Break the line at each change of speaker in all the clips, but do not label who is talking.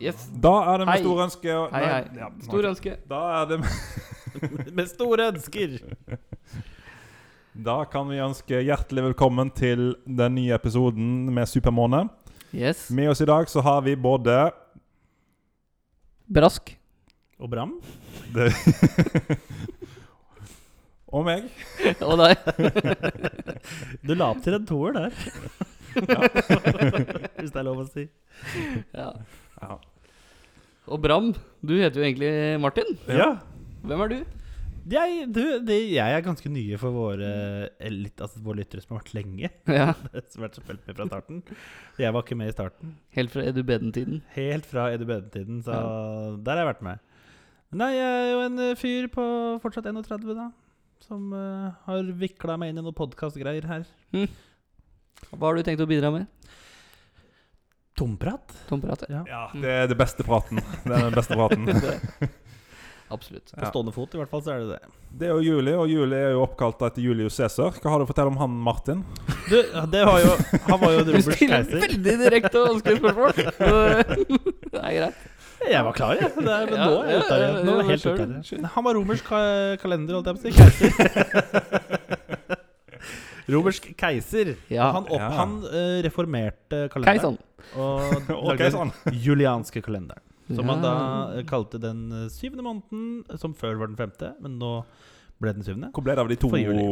Yes.
Da er det med
Hei.
stor ønske og-
Hei,
Nei,
hei.
ja,
Stor ønske.
Da er det med
Med store ønsker.
Da kan vi ønske hjertelig velkommen til den nye episoden med Supermåne.
Yes.
Med oss i dag så har vi både
Brask.
Og Bram?
det Og meg.
Og deg.
Du la opp til en toer der. Hvis det er lov å si.
Ja.
Ja.
Og Bram, du heter jo egentlig Martin.
Ja.
Hvem er du?
Jeg, du, det, jeg er ganske nye for våre, eh, litt, altså, våre lyttere som har vært lenge.
Ja,
Som har vært så fulgt med fra starten. Jeg var ikke med i starten.
Helt fra edubeden-tiden.
Helt fra Eddie Beden-tiden, så der har jeg vært med. Men nei, jeg er jo en eh, fyr på fortsatt 31, da. Som eh, har vikla meg inn i noen podkastgreier her.
Hva har du tenkt å bidra med?
Tomprat?
Tomprat? ja.
ja, det er det beste praten. Det er den beste praten.
Absolutt.
På stående fot, i hvert fall, så er det det.
Det er jo juli, og juli er jo oppkalt etter Julius Cæsar. Hva har du å fortelle om han, Martin?
Du, det var jo Han var jo en
Du
romersk
stiller
keiser.
veldig direkte og vanskelige spørsmål. Så- Det er greit.
Jeg var klar, jeg. Det er, men
Ja,
nå er jeg ute av det.
ja,
Nå er
ja,
jeg helt
sure,
ute av det.
sure.
Han var romersk ka- kalender, holdt jeg på å si. Keiser. romersk keiser.
Ja.
Han, opp,
Ja.
han eh, reformerte kalenderen.
Keisan.
Og
Ok,
lagde
sånn.
den julianske kalenderen. Som han da
Ja.
eh, kalte den eh, syvende måneden, eh, som før var den femte, men nå ble den syvende.
Hvor ble det av de to
For juli.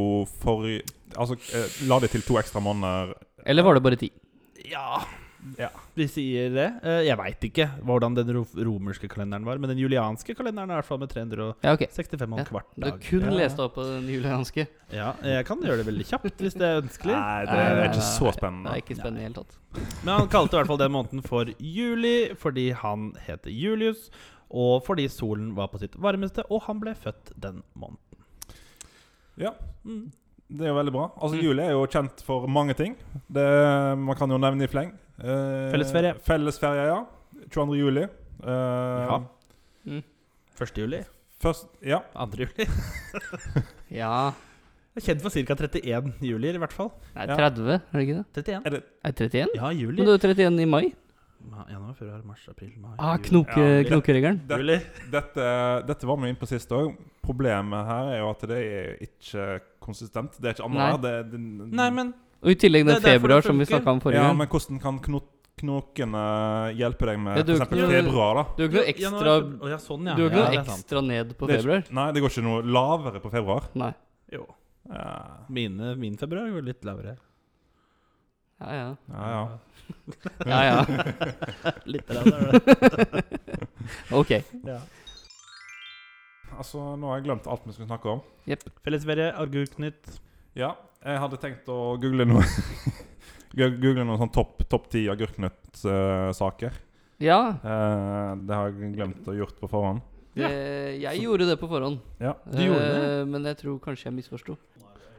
for Altså, eh, la de til to ekstra måneder
Eller var det bare ti?
Ja,
Ja.
vi sier det. Eh, Jeg veit ikke hvordan den ro- romerske kalenderen var, men den julianske kalenderen er i hvert fall med 365
Ja, ok.
og en kvart
Du
dag.
kun
Ja.
leste opp eh, på den julianske.
Ja, jeg kan gjøre det veldig kjapt hvis det er ønskelig.
Nei, det
Eh,
er ikke så
Det er
spennende.
ikke spennende i det hele tatt.
Men han kalte i hvert fall den måneden for juli fordi han heter Julius, og fordi solen var på sitt varmeste, og han ble født den måneden.
Ja.
Mm.
Det er jo veldig bra. Altså,
Mm.
Juli er jo kjent for mange ting. Det, man kan jo nevne i fleng. Eh,
Fellesferie.
Fellesferie, ja. 22. juli. Eh,
Ja.
Mm.
1. juli.
Først, ja.
2. juli.
Ja
Jeg er kjent for ca. 31 julier, i hvert fall.
Nei,
Ja.
30, er det ikke det?
31.
Er det 31?
Ja,
Men
juli.
du er 31 i mai?
Ma- Januar, februar, mars, april, mai
Ah,
juli.
knoke,
Ja, det-
knokeregelen.
Det-
Juli.
Dette, dette var vi inne på sist òg. Problemet her er jo at det er ikke konsistent. Det er ikke annenhver. det- det-
Nei, men
Og i tillegg den
Det er derfor
februar
det
som vi
funker.
snakka om forrige
Ja,
gang.
men hvordan kan knot, knokene hjelpe deg med
Det duger
for eksempel
ikke.
februar, da?
Du har ikke noe ekstra,
januar, februar- Å, ja, sånn, ja.
du har ikke
ja,
noe
det er sant.
ekstra ned på
Det er
februar?
Nei, det går ikke noe lavere på februar.
Nei.
Jo.
Ja,
Mine, min februar er jo litt lavere.
Ja, ja.
ja. ja.
ja, ja.
litt lavere.
Ok.
ja.
Altså, nå har jeg glemt alt vi skulle snakke om.
Fellesferie, Agurknytt
Ja, jeg hadde tenkt å google noe Gu- Google noen sånn topp topp ti agurknøttsaker.
Ja,
Eh, det har jeg glemt å gjort på forhånd.
det, eh, jeg gjorde det på forhånd.
Ja.
Du gjorde det?
Eh, Men jeg tror kanskje jeg misforsto.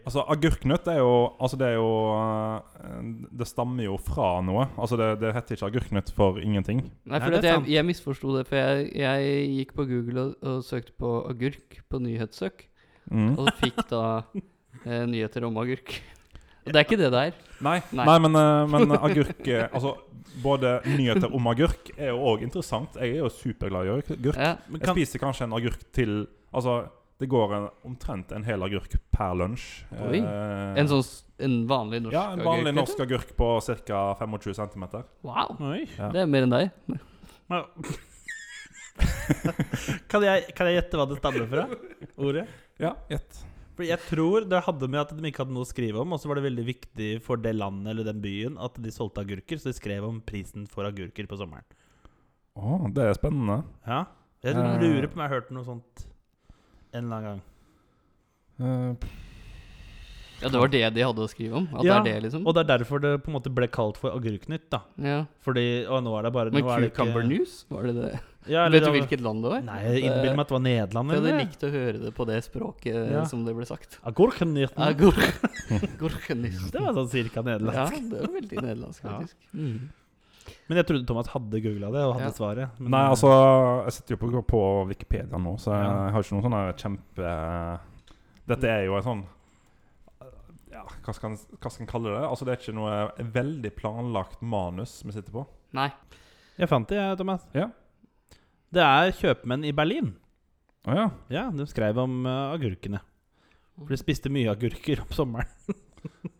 Altså, agurknøtt er jo Altså, det er jo eh, Det stammer jo fra noe. Altså, det, det heter ikke agurknøtt for ingenting.
Nei,
Nei,
for
det
at
er
jeg,
sant.
jeg misforsto det, for jeg, jeg gikk på Google og, og søkte på agurk på nyhetssøk,
Mm.
og fikk da eh, nyheter om agurk. Og det er ikke det det er.
Nei,
Nei.
nei. men, eh, men agurk eh, Altså, både nyheter om agurk er jo òg interessant. Jeg er jo superglad i agurk.
Ja.
Men
Jeg
kan,
spiser kanskje en agurk til Altså, det går en, omtrent en hel agurk per lunsj.
Oi.
Eh,
En sånn s- en vanlig norsk
ja, en vanlig
agurk,
norsk
vet
agurk på ca. 25 cm.
du? Wow!
Oi.
Ja.
Det er mer enn deg.
Ja. kan, jeg, kan jeg gjette hva det stammer fra? Ordet?
Ja, gjett.
For jeg tror det hadde med at de ikke hadde noe å skrive om, og så var det veldig viktig for det landet eller den byen at de solgte agurker, så de skrev om prisen for agurker på sommeren.
Å, det er spennende.
Ja. Jeg
Eh.
lurer på om jeg har hørt noe sånt en eller annen gang.
Eh,
Ja, det var det de hadde å skrive om? At
Ja,
det er det, liksom?
Og det er derfor det på en måte ble kalt for Agurknytt, da.
Ja.
Fordi Og nå er det bare
Men
nå er det
Cucumber News, var det det?
Ja, eller
Vet du
det-
hvilket land det var? Eh,
Nei, jeg innbiller meg at det var Nederland,
Jeg hadde
eller?
likt å høre det på det språket
Ja.
som det ble sagt.
Agurknytten.
Agurk. Agurkenis.
Det var sånn cirka
Ja,
nederlandsk.
det var veldig nederlandsk,
Ja.
faktisk. Mm.
Men jeg trodde Thomas hadde googla det og
Ja.
hadde svaret. Men
Nei, altså Jeg sitter jo på, på Wikipedia nå, så jeg
Ja.
har ikke noen sånne kjempe Dette er jo en sånn Ja, hva skal en hva skal en kalle det? Altså, det er ikke noe veldig planlagt manus vi sitter på.
Nei.
Jeg fant det, jeg, Thomas.
Ja.
Det er kjøpmenn i Berlin.
Å ja.
Ja, de skrev om eh, agurkene. For de spiste mye agurker om sommeren.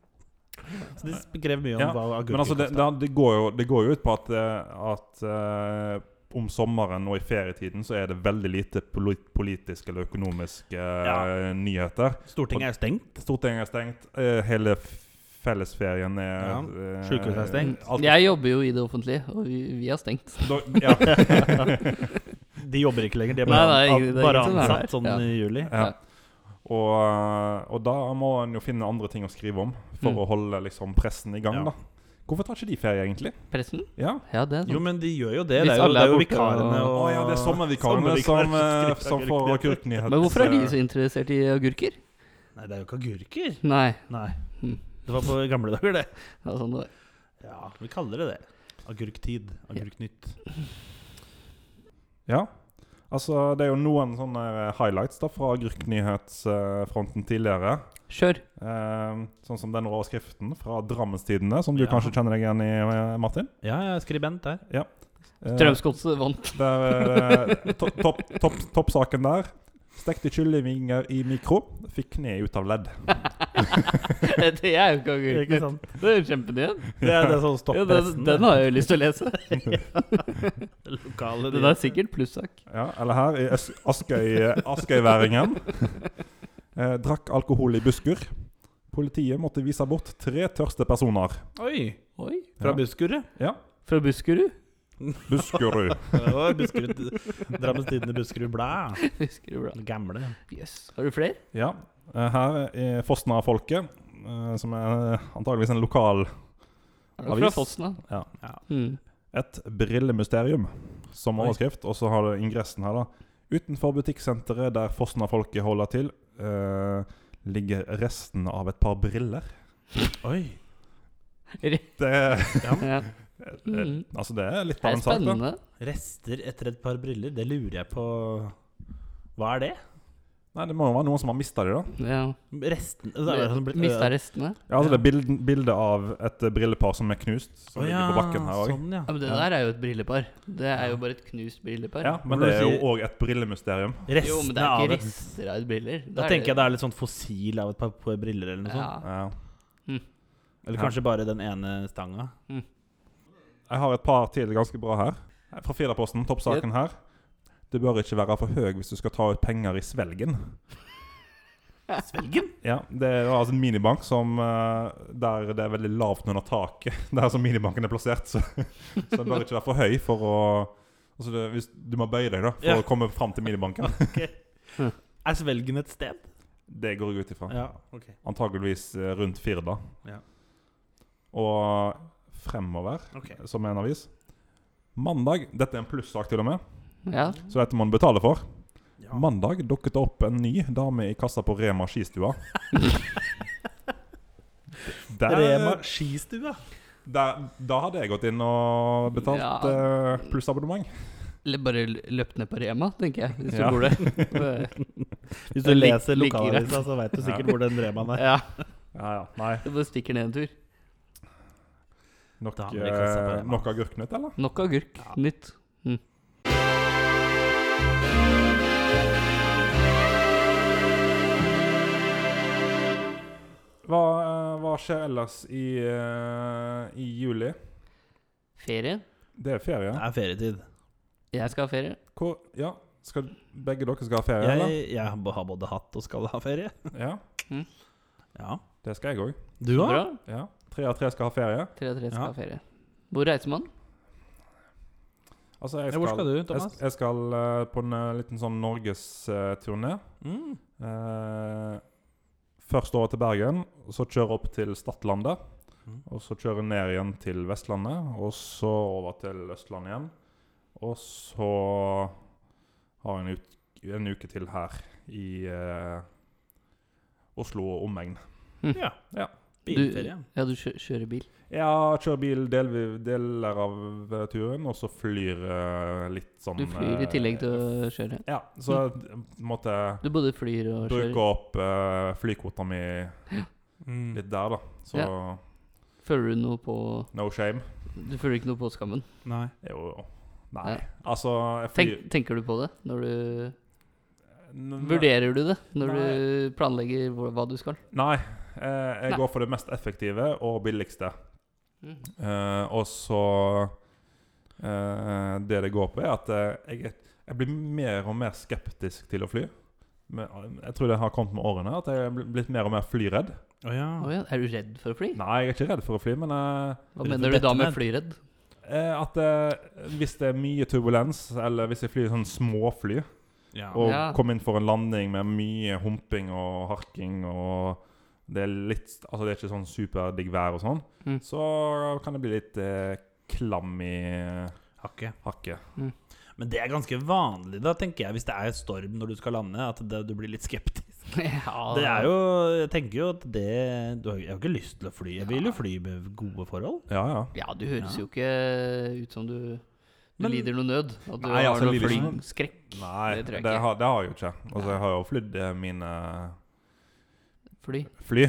Så de skrev mye om
Ja,
hva agurker
Men altså, det, det, det, går jo, det går jo ut på at, eh, at eh, om sommeren og i ferietiden så er det veldig lite poli politiske eller økonomiske eh,
Ja.
nyheter.
koster. Stortinget er stengt.
Stortinget er stengt, eh, hele f- fellesferien er
Ja.
eh,
Sykehuset er stengt.
alt-
Mm. Jeg jobber jo i det offentlige, og vi, vi har stengt.
Da- ja.
De jobber ikke lenger. De er
Nei,
bare,
nei,
an-
det er
bare
ingen som er
ansatt
der.
sånn
Ja.
i juli.
Ja. Og, eh, og da må en jo finne andre ting å skrive om for
Mm.
å holde liksom pressen i gang,
Ja.
da. Hvorfor tar ikke de ferie, egentlig?
Pressen?
Ja.
Ja, det er
Jo,
sant.
men de gjør jo det. Det
Hvis
er jo,
alle
det er
er
jo
borte og-
vikarene
Å
og
ja, det er sommervikarene som, eh,
skriver
som får
agurknyheter.
agurknyheter.
Men hvorfor er de så interessert i agurker?
Nei, det er jo ikke agurker.
Nei.
Nei.
Mm.
Hm. Det var på gamle dager, det.
Det er sånn det var.
Ja, vi kaller det det. Agurktid. Agurknytt.
Ja. Altså, det er jo noen sånne eh, highlights da fra agurknyhetsfronten tidligere.
Kjør.
Eh, sånn som den overskriften fra Drammenstidene, som du
Ja.
kanskje kjenner deg igjen i, eh, Martin.
Ja, jeg er skribent der.
Eh,
Strømsgodset vant.
der, eh, to- topp- topp- Toppsaken der. Stekte kyllingvinger i mikro. Fikk kne ut av ledd.
det er jo ikke
Ikke
agurk.
sant?
Det er kjempenyhet.
Det er det sånn som stopper
Ja, den,
resten.
den har jeg jo lyst til å lese.
det lokale
Den er sikkert plussak.
Ja, eller her i Øs- Askøy, Askøyværingen. Eh, drakk alkohol i busskur. Politiet måtte vise bort tre tørste personer.
Oi!
Oi.
Fra
Ja.
Buskerud.
Fra Buskerud?
Buskerud.
Det var Buskerud Drammens Tidende Buskerud Blad.
Buskerud bra.
Den gamle.
Yes. Har du flere?
Ja, eh, her er Fosna-folket, eh, som er antageligvis en lokal
Er det fra
Avis.
Fosna?
Ja.
Mm.
Et brillemysterium som
Oi.
overskrift. Og så har du ingressen her, da. Utenfor butikksenteret der Fosna-folket holder til, eh, ligger resten av et par briller.
Oi!
Det,
Ja. Mm.
altså det er litt
Det
av
er
en sak, da.
spennende.
Rester etter et par briller. Det lurer jeg på Hva er det?
Nei, det må jo være noen som har mista de, da.
Ja.
Resten det er jo sånn blitt-
Mista restene.
Ja, altså Det er bild, bilde av et eh, brillepar som er knust, som
Å ja,
ligger på bakken her òg.
Sånn, ja.
Ja, men det
Ja.
der er jo et brillepar. Det er jo bare et knust brillepar.
Ja, men det er jo òg et brillemysterium.
Restene
Jo, men det er
av
ikke
et-
rester av et briller.
Da tenker jeg det er litt sånn fossil av et par par briller eller noe sånt.
ja.
Ja.
Eller
Ja.
kanskje bare den ene stanga.
Jeg har et par til ganske bra her. Eh, Fra Firdaposten, toppsaken her. Du bør ikke være for høy hvis du skal ta ut penger i svelgen.
Svelgen?
Ja, Det er altså en minibank som, eh, der det er veldig lavt under taket. Der som minibanken er plassert. Så, så en bør ikke være for høy for å altså det, hvis, Du må bøye deg da, for
Ja.
å komme fram til minibanken.
Er svelgen et sted?
Det går jeg ut ifra.
Ja, ok.
Antageligvis eh, rundt Firda.
Ja.
Og fremover,
Ok.
som er en avis Mandag Dette er en plussak, til og med,
ja.
så dette må en betale for.
Ja.
Mandag dukket det opp en ny dame i kassa på Rema skistua. Der,
Rema skistua.
der, da hadde jeg gått inn og betalt
Ja.
eh, plussabonnement.
Eller bare l- løpt ned på Rema, tenker jeg, hvis du
Ja.
bor der. Det- Det
Hvis du
er lik-
leser
like
lokalavisa, så veit du sikkert hvor den Remaen er.
Ja,
Ja, ja. Nei.
du bare stikker ned en tur.
Nok,
Dame i kassa på
eh,
Rema.
nok agurknøtt, eller?
Nok agurk.
Ja.
Nytt.
Hva, eh, hva skjer ellers i, eh, i juli?
Ferie.
Det er ferie.
Det er ferietid.
Jeg skal ha ferie.
Hvor, ja, skal, begge dere skal ha ferie,
Jeg, jeg har både hatt og skal ha ferie.
eller? Ja,
Ja.
det skal jeg òg.
Du
Så
òg?
Bra.
Ja. Tre av tre skal ha ferie.
Tre av tre skal
Ja.
ha ferie. Hvor reiser man?
Altså, jeg
Ja,
skal,
hvor skal du,
jeg,
Thomas?
jeg skal eh, på en eh, liten sånn norgesturné.
Mm.
Eh, først over til Bergen, og så kjøre opp til Stadlandet.
Mm.
Og så kjøre ned igjen til Vestlandet, og så over til Østlandet igjen. Og så har jeg en, ut, en uke til her i eh, Oslo og omegn.
Ja.
Ja.
Bilferie.
Ja, du kjø kjører bil.
Jeg kjører bil del, deler av eh, turen, og så flyr eh, litt sånn
Du flyr i
eh,
tillegg til å kjøre.
Ja, så jeg måtte
Du både flyr og
bruke
kjører.
opp uh, flykvota mi
Mm.
litt der, da. Så
Føler du noe på
no shame.
Du føler ikke noe på skammen?
Nei.
Jo, jo. Nei.
Ja.
Altså, jeg flyr
Tenk, tenker du på det når du
N-
Vurderer du det når
Nei.
du planlegger hvor, hva du skal?
Nei. eh, Jeg
Nei.
går for det mest effektive og billigste. Eh, og så eh, Det det går på, er at eh, jeg, jeg blir mer og mer skeptisk til å fly. Men eh, jeg tror det har kommet med årene, at jeg er bl- blitt mer og mer flyredd.
Å ja.
Å ja, er du redd for å fly?
Nei, jeg er ikke redd for å fly, men eh,
Hva
Redd for
mener du da med
dette,
flyredd?
eh, at eh, hvis det er mye turbulens, eller hvis jeg flyr sånn småfly,
ja.
og
Ja.
kommer inn for en landing med mye humping og harking og det er litt Altså, det er ikke sånn superdigg vær og sånn,
Mm.
så kan det bli litt eh, klam i
Hakke.
hakket.
Men det er ganske vanlig, da, tenker jeg, hvis det er storm når du skal lande, at det, du blir litt skeptisk.
Ja,
Det er jo Jeg tenker jo at det du har, Jeg har jo ikke lyst til å fly. Jeg vil jo fly med gode forhold.
Ja, ja.
Ja, du høres
Ja.
jo ikke ut som du, du
Men-
lider noe nød. At du
Nei,
har
altså,
noe
lider ikke
flyskrekk.
Nei,
Det
det,
tror jeg ikke.
har, det har jeg jo ikke. Altså, jeg har jo flydd eh, mine
Fly.
fly.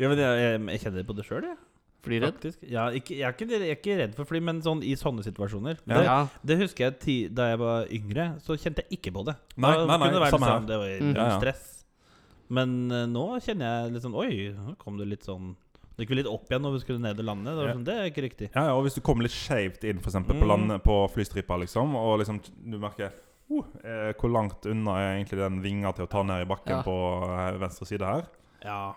Ja, men jeg, jeg, jeg kjenner på det sjøl, jeg.
Flyredd?
Faktisk. Ja, ikke, jeg, er ikke, jeg er ikke redd for fly, men sånn i sånne situasjoner.
Ja.
Det,
Ja.
det husker jeg ti, da jeg var yngre, så kjente jeg ikke på det. Da
Nei, nei, nei,
kunne det være
samme
litt
her.
sånn, Det var
Mm.
Ja, ja.
stress. Men eh, nå kjenner jeg litt sånn Oi, nå kom det litt sånn Det gikk vi litt opp igjen når vi skulle ned og lande. Det, var
Ja.
sånn, det er ikke riktig.
Ja, ja, og hvis du kommer litt skjevt inn, f.eks. eksempel på,
Mm.
landet- på flystripa, liksom, og liksom du merker «Oh, eh, hvor langt unna er egentlig den vinga til å ta ned i bakken
Ja.
på eh, venstre side her?
Ja.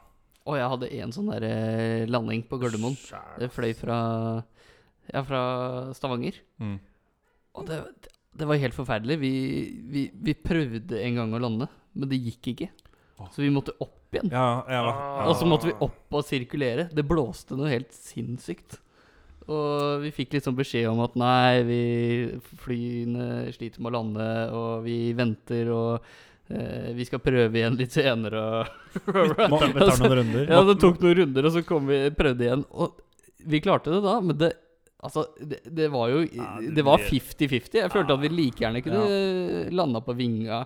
Og jeg hadde en sånn der eh, landing på Gardermoen.
Skjær.
Det fløy fra, ja, fra Stavanger.
Mm.
Og det, det var helt forferdelig. Vi, vi, vi prøvde en gang å lande, men det gikk ikke. Så vi måtte opp igjen.
Ja, ja, ja.
Og så måtte vi opp og sirkulere. Det blåste noe helt sinnssykt. Og vi fikk liksom beskjed om at nei, vi flyene sliter med å lande, og vi venter, og eh, vi skal prøve igjen litt senere. Og
Må-
Vi tar noen runder.
ja, det tok noen runder, og så kom vi, prøvde igjen. Og vi klarte det da, men det Altså, det, det var jo
Ja, det
Det var
blir-
50-50. Jeg følte at vi like gjerne kunne landa på vinga.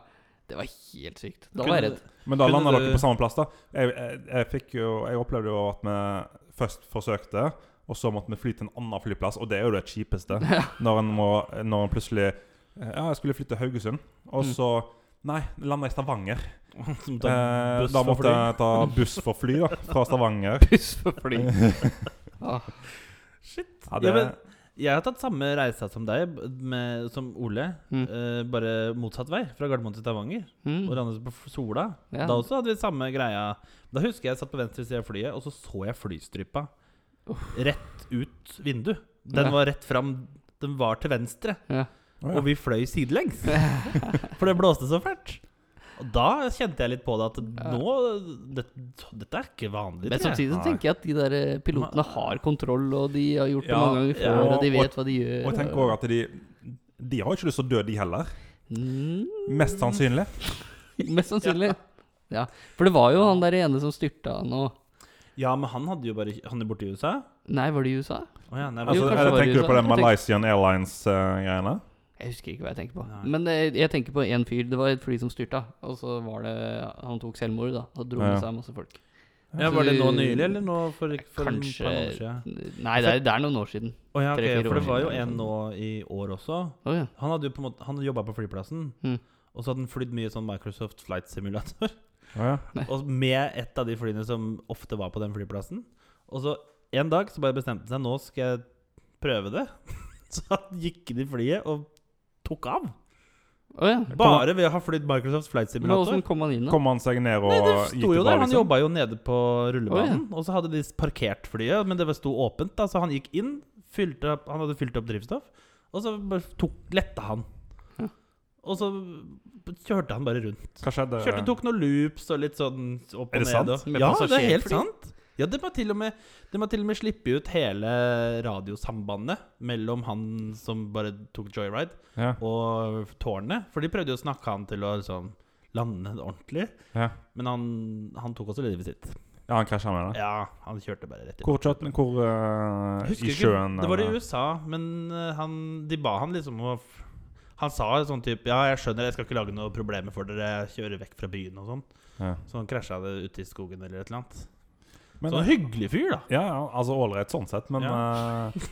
Det var helt sykt. Da var jeg redd.
Men da
Kunne
landa
du-
dere på samme plass, da. Jeg, jeg, jeg, fikk jo, jeg opplevde jo at vi først forsøkte, og så måtte vi fly til en annen flyplass, og det er jo det kjipeste. Når en, må, når en plutselig eh, Ja, jeg skulle flytte til Haugesund, og
Mm.
så Nei, landa i Stavanger.
Som tar
Eh,
buss
da
for
måtte
fly.
jeg ta buss for fly, da, fra Stavanger.
Puss for fly. Ah.
Ja,
Ja,
det,
men- Jeg har tatt samme reisa som deg, med, som Ole.
Mm.
Eh, bare motsatt vei, fra Gardermoen til Stavanger. Og
Mm.
landet på F- Sola.
Ja.
Da også hadde vi samme greia. Da husker jeg jeg satt på venstre side av flyet, og så så jeg flystripa rett ut vinduet. Den
Ja.
var rett fram. Den var til venstre,
Ja.
Å, ja.
og vi fløy sidelengs. For det blåste så fælt. Og da kjente jeg litt på det at nå det, Dette er ikke vanlig.
Men
tror jeg.
samtidig så
Nei.
tenker jeg at de der eh, pilotene har kontroll, og de har gjort det
Ja,
mange ganger
ja,
før, og de
og-
vet hva de gjør.
og jeg tenker òg at de De har jo ikke lyst til å dø, de heller.
Mm,
Mest sannsynlig.
Mest sannsynlig. Ja. For det var jo han der ene som styrta nå.
Ja, men han hadde jo bare Han er borte i USA.
Nei, var det i USA?
Å ja, nei,
kanskje
Altså, eller
det var i
tenker du
USA.
på den
Jeg tenker-
Malaysian eh, Airlines-greiene?
Jeg husker ikke hva jeg tenker på.
Nei.
Men eh, jeg tenker på én fyr. Det var et fly som styrta, og så var det Han tok selvmord, da, og dro med
Ja.
seg masse folk.
Ja, Var det nå nylig, eller nå for, for
Kanskje-
et par måneder siden?
Nei, det er, det er noen år siden.
Å ja, ok,
tre-fire
for
år
det var jo
siden,
en
eller
nå i år også.
Å ja.
Han hadde jo på en måte Han jobba på flyplassen,
Mhm.
og så hadde han flydd mye sånn Microsoft Flight Simulator.
Ja, ja.
Og med et av de flyene som ofte var på den flyplassen. Og så en dag så bare bestemte han seg Nå skal jeg prøve det. Så han gikk inn i flyet og tok av.
Å ja.
Bare ved å ha flydd Microsoft Flight
Men
Simulator.
åssen kom han inn, da?
Kom han seg ned og
Nei, det
gikk
sto jo
tilbake,
der. Han
liksom?
jobba jo nede på rullebanen. Og så hadde de parkert flyet, men det var- sto åpent. da Så han gikk inn, fylte opp, han hadde fylt opp drivstoff, og så bare tok, letta han.
Ja.
Og så kjørte han bare rundt.
Hva skjedde?
Kjørte tok noen loops og litt sånn opp og
Er
ned.
det sant?
og-
Med
Ja, det er helt
passasjerfly?
sant. Ja, de har til og med, de har til og med slippe ut hele radiosambandet mellom han som bare tok joyride,
Ja.
og tårnet. For de prøvde jo å snakke han til å liksom lande ordentlig.
Ja.
Men han, han tok også livet sitt.
Ja, han krasja med det.
Ja, han kjørte bare rett inn.
Hvor, kjørte han- hvor eh,
Husker
i
ikke,
sjøen?
Det var i
eller?
USA, men eh, han, de ba han liksom å f- Han sa sånn type Ja, jeg skjønner, jeg skal ikke lage noe problemer for dere. Jeg kjører vekk fra byen og sånn.
Ja.
Så han krasja det ute i skogen eller et eller annet.
Men,
så hyggelig fyr, da.
Ja, ja, altså ålreit sånn sett, men eh,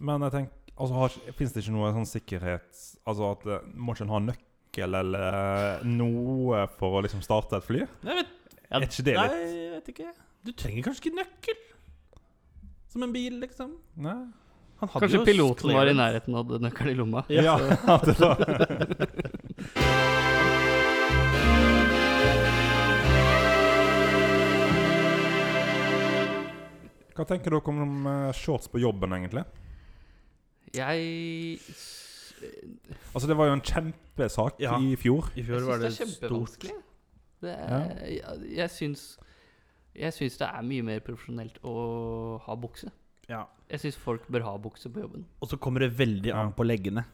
Men jeg tenker Altså, har, Fins det ikke noe sånn sikkerhet Altså at eh, Må ikke en ha nøkkel eller eh, noe for å liksom starte et fly?
Nei, vet,
Ja,
er ikke det
nei,
litt
jeg vet ikke. Du trenger kanskje ikke nøkkel. Som en bil, liksom.
Nei?
Han hadde
Kanskje
jo
piloten var i
clearance.
nærheten og hadde nøkkelen i lomma.
Ja.
det var Hva tenker dere om eh, shorts på jobben, egentlig?
Jeg s- Jeg
Altså, Det var jo en kjempesak
Ja.
i fjor.
I fjor
syns
var
det
det
er
stort.
kjempevanskelig. Det er, jeg jeg syns jeg syns det er mye mer profesjonelt å ha bukse.
Ja.
Jeg syns folk bør ha bukse på jobben.
Og så kommer det veldig
Ja.
an på leggene.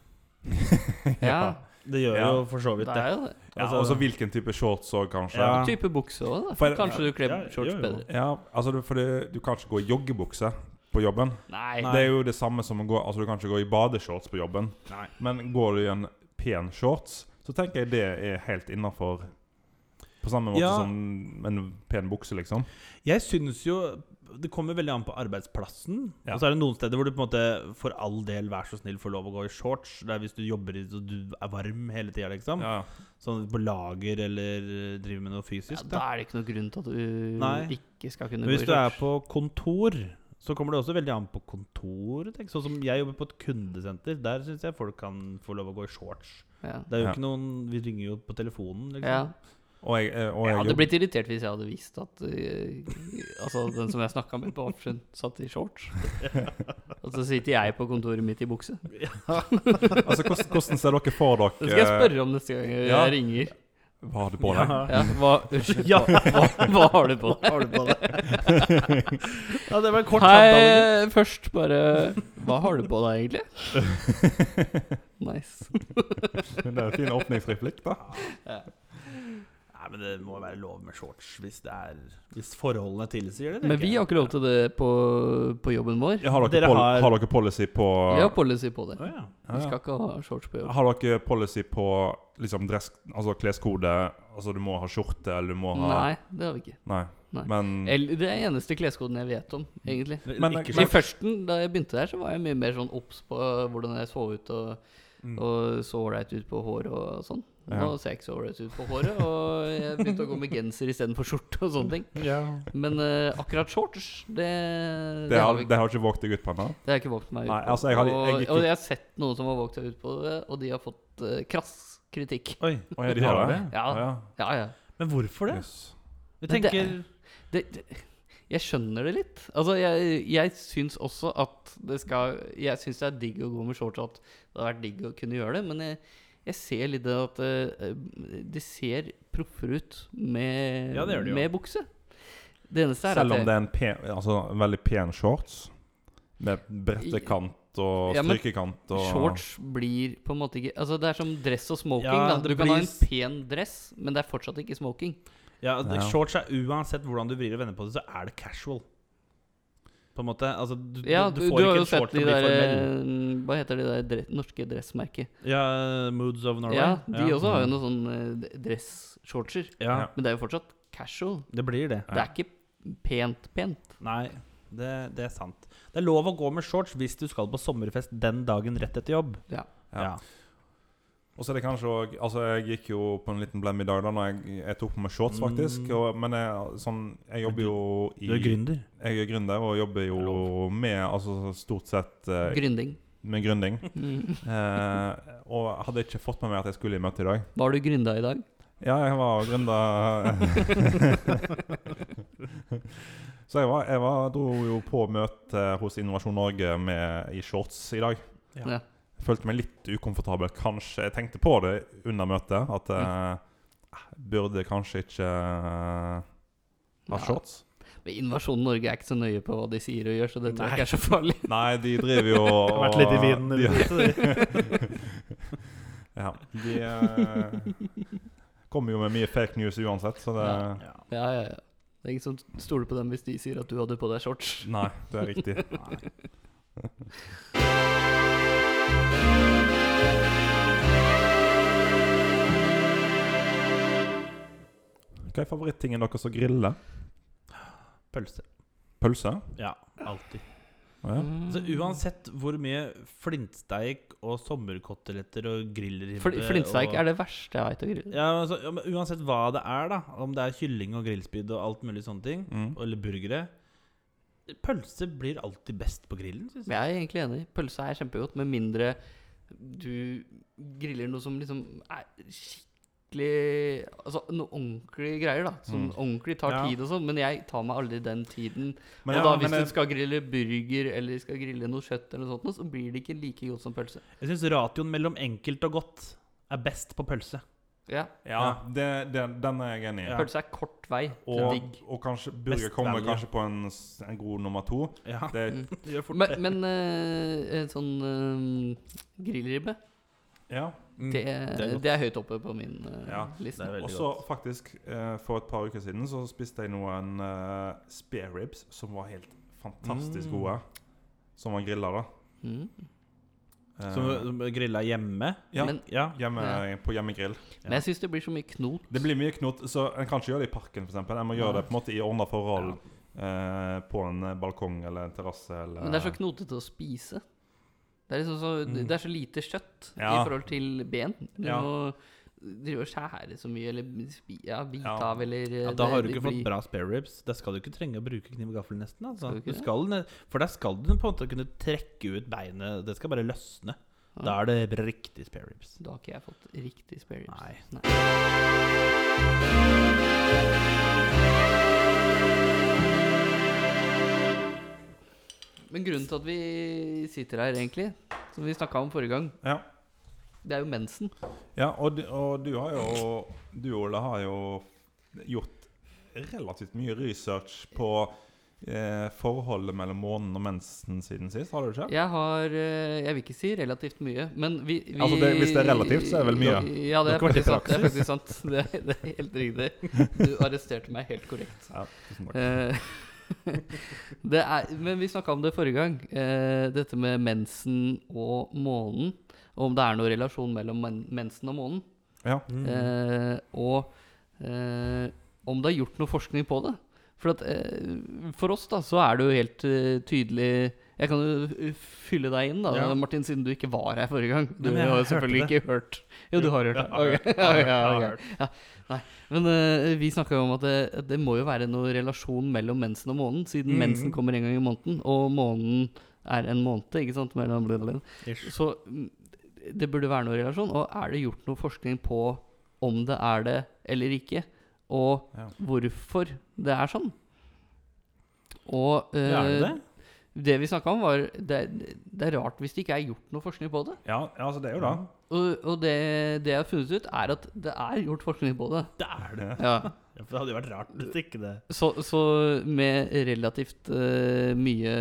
Ja,
Det gjør
Ja.
jo for så
det
vidt det.
er jo det.
Ja,
Altså-
og så hvilken type shorts òg, kanskje.
Ja.
Type bukse òg, da.
For-
Kanskje du kler
Ja,
shorts
jo, jo.
bedre.
Ja, altså du, for du, du kan ikke gå i joggebukse på jobben.
Nei.
Nei.
Det er jo det samme som å gå Altså du kan ikke gå i badeshorts på jobben.
Nei.
Men går du i en pen shorts, så tenker jeg det er helt innafor. På samme måte
Ja.
som en pen bukse, liksom.
Jeg syns jo Det kommer veldig an på arbeidsplassen.
Ja.
Og så er det noen steder hvor du på en måte for all del, vær så snill, får lov å gå i shorts. Det er hvis du jobber i så du er varm hele tida, liksom.
Ja.
Sånn på lager eller driver med noe
Ja,
fysisk.
da
da.
er det ikke noe grunn til at du
Nei.
ikke skal kunne
Men
gå i
hvis du er
shorts.
på kontor, så kommer det også veldig an på kontoret. tenk. Sånn som jeg jobber på et kundesenter. Der syns jeg folk kan få lov å gå i shorts.
Ja.
Det er jo
Ja.
ikke noen Vi ringer jo på telefonen,
Ja.
liksom.
Og jeg, eh,
Jeg
og jeg
hadde
jobb-
blitt irritert hvis jeg hadde visst at eh, Altså den som jeg snakka med på Option, satt i shorts. Og så sitter jeg på kontoret mitt i bukse.
Altså, hvordan, hvordan ser dere for dere
Det skal jeg spørre om neste gang jeg
Ja.
ringer.
eh, Hva har du på deg?
Ja, hva,
Ja.
hva, hva har du på deg?
Har du på det? ja, det var en kort samtale.
Hei, først bare Hva har du på deg, egentlig? Nice.
Det er en fin åpningsreplikk, da.
Nei, men det må være lov med shorts hvis, det er, hvis forholdene tilsier det.
Men vi har ikke lov til det på, på jobben vår.
Har dere,
Dere
pol
har-
har... dere policy på
Vi har policy på det.
Å, ja.
Ja,
Vi
ja.
skal ikke ha shorts på jobb.
Har dere policy på liksom dress, altså kleskode? Altså du må ha skjorte, eller du må ha
Nei, det har vi ikke.
Nei.
Nei.
Men
Eller, det er eneste kleskoden jeg vet om, egentlig.
Men-
ikke
I
shorts.
førsten, da jeg begynte der, så var jeg mye mer sånn obs på hvordan jeg så ut, og,
Mm.
og så ålreit ut på håret og sånn. Nå
Ja.
ser jeg ikke så ålreit ut på håret, og jeg begynte å gå med genser istedenfor skjorte og sånne ting. Men eh, akkurat shorts, det, det,
det
har
har,
vi ikke.
det har ikke våget deg ut på ennå?
Det har jeg ikke våget meg ut
Nei,
på.
altså, jeg har- jeg
og,
gikk
og
ikke-
jeg har sett noen som har våget seg ut på det, og de har fått eh, krass kritikk.
Oi.
Å ja, de
Det
har
har
det?
vi. Ja.
Å,
Ja, ja.
Men hvorfor det?
Yes.
Vi
Men det-
tenker
det, det, jeg skjønner det litt. Altså, jeg, jeg syns også at det skal Jeg syns det er digg å gå med shorts, og at det hadde vært digg å kunne gjøre det, men jeg, jeg ser litt det at eh, det ser proffere ut med,
Ja, det gjør det jo.
med bukse. Det eneste er
Selv
at
om
eh,
det
jeg,
er en pen, altså, en veldig pen shorts, med brettekant og
Ja, men
strykekant og
shorts blir på en måte ikke Altså, det er som dress og smoking.
Ja,
da. Du
det
kan ha
blir
en
s-
pen dress, men det er fortsatt ikke smoking.
ja, det-
Ja.
Shorts er uansett hvordan du vrir og vender på det, så er det casual. På en måte. Altså, du, du-
Ja,
du
du, du,
får
har
ikke
jo
en shorts
sett de
som blir
der
formell.
eh, Hva heter de der dre norske dressmerket?
Ja, Moods of Norway.
Ja, de
ja. Mm.
også har jo noen sånne eh, dress-shortser.
Ja,
Ja.
Men det er jo fortsatt casual.
det blir det.
Det er ikke pent, pent.
Nei, det, det er sant. Det er lov å gå med shorts hvis du skal på sommerfest den dagen rett etter jobb.
Ja.
Ja. Og så er det kanskje også, altså Jeg gikk jo på en liten blem i dag da Når jeg, jeg tok på meg shorts, faktisk.
Mm.
Og, men jeg, sånn, jeg jobber jo i
Du er gründer.
Jeg er gründer og jobber
Det er
jo med altså stort sett eh,
Gründing.
med gründing.
Mm.
Eh, og hadde ikke fått med meg at jeg skulle i møte i dag.
Var du gründa i dag?
Ja, jeg var gründer Så jeg, var, jeg var, dro jo på møte eh, hos Innovasjon Norge med, i shorts i dag.
Ja.
Ja.
Jeg følte meg litt ukomfortabel, kanskje. Jeg tenkte på det under møtet, at eh,
Mm.
jeg burde kanskje ikke eh, ha
Ja.
shorts.
Men Invasjon Norge er ikke så nøye på hva de sier og gjør, så det tror
Nei.
jeg ikke er så farlig.
Nei, de driver jo og
har vært litt i vinden i det
Ja. De eh, kommer jo med mye fake news uansett, så det
Ja.
Ja.
Ja, ja, ja. Det er ingen som stoler på dem hvis de sier at du hadde på deg shorts.
Nei, det er riktig. Hva er favorittingen deres å grille?
Pølse.
Pølse?
Ja, alltid.
Ja.
Mm.
Så uansett hvor mye flintsteik og sommerkoteletter og grillribbe
Fl Flintsteik er det verste jeg veit å grille.
ja, men altså, ja, men Uansett hva det er, da om det er kylling og grillspyd og alt mulig sånne ting,
Mm.
eller burgere Pølse blir alltid best på grillen, syns jeg.
Jeg er egentlig enig. Pølse er kjempegodt, med mindre du griller noe som liksom er skikkelig Altså noe ordentlige greier, da. Som
Mm.
ordentlig tar
Ja.
tid og sånn. Men jeg tar meg aldri den tiden.
Men,
og
ja,
da
men
hvis
jeg-
du skal grille burger eller skal grille noe kjøtt, eller noe sånt, noe, så blir det ikke like godt som pølse.
Jeg syns ratioen mellom enkelt og godt er best på pølse.
Ja,
ja, det, det, den er jeg enig i.
Ja.
Pølse er kort vei til
Og,
digg.
og kanskje
Best
burger kommer
value.
kanskje på en, s- en god nummer to.
Ja,
Det,
Mm.
det gjør fort
Men, men eh, en sånn eh, grillribbe,
ja.
Mm.
det,
det er
det,
godt.
er høyt oppe på min eh,
Ja,
liste.
det er veldig
Og så
godt.
faktisk, eh, for et par uker siden, så spiste jeg noen eh, spare ribs som var helt fantastisk
Mm.
gode. Som var grilla, da.
Mm.
Eh,
Som, som grilla hjemme.
ja,
Men,
Ja.
hjemme, på hjemmegrill.
men jeg syns det blir så mye knot.
Det blir mye knot, så en kan ikke gjøre det i parken, f.eks. En må
Ja.
gjøre det på en måte i ordna forhold eh, på en eh, balkong eller en terrasse eller
Men det er så knotete å spise. Det er, liksom så,
Mm.
det er så lite kjøtt i
Ja.
forhold til ben. Du
Ja.
må drive og skjære så mye, eller spi, ja, bite
Ja.
av, eller eh,
Ja, da har du
det-
ikke
det
fått
blir-
bra spare ribs. Da skal du ikke trenge å bruke kniv og gaffel, nesten. Altså.
Skal du ikke
Du
det?
skal, ne- for der skal du på en måte kunne trekke ut beinet. Det skal bare løsne. Da er det riktig spare ribs.
Da har ikke jeg fått riktig spare ribs.
Nei.
Men grunnen til at vi sitter her, egentlig, som vi snakka om forrige gang,
Ja.
det er jo mensen.
Ja, og, du- og du har jo Du, Ole, har jo gjort relativt mye research på eh, forholdet mellom månen og mensen siden sist, har du ikke?
Jeg har eh, Jeg vil ikke si relativt mye, men vi, vi
Altså, det- hvis det er relativt, så er det vel mye.
Ja, det
Det
er
kan være
faktisk sant. Det er, faktisk
praksis.
sant. Det, er- det er helt riktig. Du arresterte meg helt korrekt.
Ja, tusen takk.
Eh, det er, men vi snakka om det forrige gang, eh, dette med mensen og månen. Og om det er noen relasjon mellom men mensen og månen.
Ja.
Mm.
Eh, og eh, om det er gjort noe forskning på det. For, at, eh, for oss da, så er det jo helt eh, tydelig Jeg kan jo fylle deg inn, da,
Ja.
Martin, siden du ikke var her forrige gang. Du
Nei, men jeg
har jo
hørte
selvfølgelig ikke hørt. Jo, du har hørt det.
Jeg har hørt,
Ok.
jeg har hørt,
Ja,
jeg har
ok. Men eh, vi snakka jo om at det, at det må jo være noen relasjon mellom mensen og månen, siden
Mhm.
mensen kommer en gang i måneden, og månen er en måned, ikke sant? Mellom blablabla.
Ish.
Så mm, det burde være noen relasjon. Og er det gjort noe forskning på om det er det eller ikke, og
Ja.
hvorfor det er sånn? Og eh,
Ja, er det det?
det vi snakka om, var det, er- det er rart hvis det ikke er gjort noe forskning på det.
ja, altså det er jo det.
Og, og det, det jeg har funnet ut, er at det er gjort forskning på det.
Det er det.
Ja.
Ja, for det hadde jo vært rart hvis ikke det
Så, så med relativt eh, mye